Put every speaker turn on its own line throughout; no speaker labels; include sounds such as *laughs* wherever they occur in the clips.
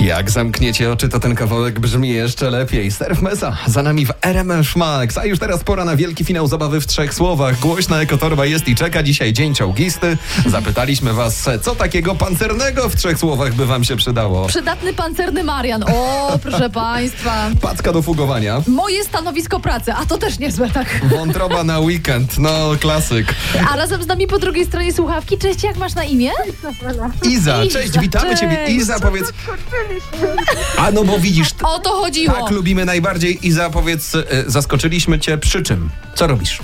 Jak zamkniecie oczy, to ten kawałek brzmi jeszcze lepiej. Surf Mesa za nami w RMF Max, a już teraz pora na wielki finał zabawy w trzech słowach. Głośna ekotorba jest i czeka dzisiaj dzień czołgisty. Zapytaliśmy was, co takiego pancernego w trzech słowach by wam się przydało?
Przydatny pancerny Marian. O,
*laughs*
proszę państwa.
Packa do fugowania.
Moje stanowisko pracy, a to też niezłe, tak.
Wątroba na weekend, no klasyk.
A razem z nami po drugiej stronie słuchawki. Cześć, jak masz na imię?
Iza,
Iza,
cześć, witamy
cześć.
ciebie. Iza, powiedz... A no bo widzisz, t-
O to chodziło.
tak lubimy najbardziej. Iza, powiedz, e, zaskoczyliśmy cię przy czym? Co robisz?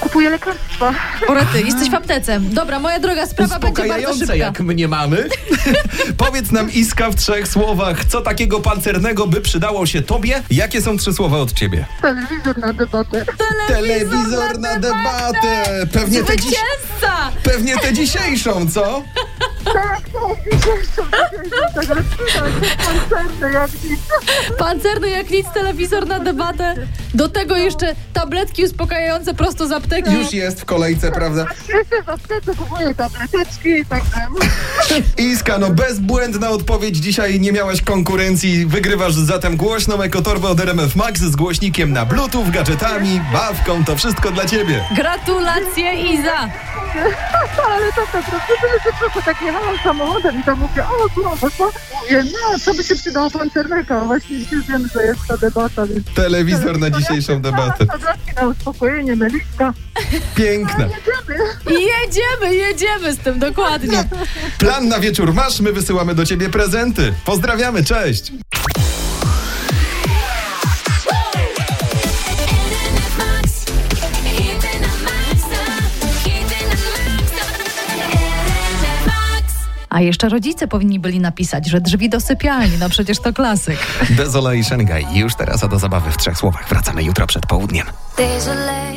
Kupuję lekarstwo.
Orety, jesteś w aptece. Dobra, moja droga sprawa będzie bardzo szybka.
uspokajające, jak mnie *laughs* mamy. Powiedz nam, Iska, w trzech słowach, co takiego pancernego by przydało się tobie? Jakie są trzy słowa od ciebie?
Telewizor na debatę.
Telewizor na debatę! Pewnie tę dziś,
Zwycięzca!
pewnie tę dzisiejszą, co?
Tak, tak, dzisiejszą tak rozpinać koncerty jak nic.
Pancerny jak nic, telewizor na debatę. Do tego jeszcze tabletki uspokajające prosto z apteki.
Już jest w kolejce, prawda?
Jeszcze w aptece kupuję tableteczki i tak dalej.
Iska, no bezbłędna odpowiedź. Dzisiaj nie miałaś konkurencji. Wygrywasz zatem głośną ekotorbę od RMF Max z głośnikiem na bluetooth, gadżetami, bawką. To wszystko dla ciebie.
Gratulacje, Iza!
Ale tak naprawdę tyle się trochę tak jechałam samochodem i tam mówię, o kurwa, co? Mówię, no, co by się przydało pancernego? Właśnie dzisiaj wiem, że jest ta debata, więc...
Telewizor na dzisiejszą debatę.
Tabletki na uspokojenie, meliska.
Piękne.
Jedziemy.
Jedziemy, jedziemy z tym, dokładnie.
Plan na wieczór masz, my wysyłamy do ciebie prezenty. Pozdrawiamy, cześć!
NMF Max, hit na maksa, hit na maksa, NMF Max.
A jeszcze rodzice powinni byli napisać, że drzwi do sypialni, no przecież to klasyk.
Desolation Guy. Już teraz, a do zabawy w trzech słowach. Wracamy jutro przed południem.
There's a lake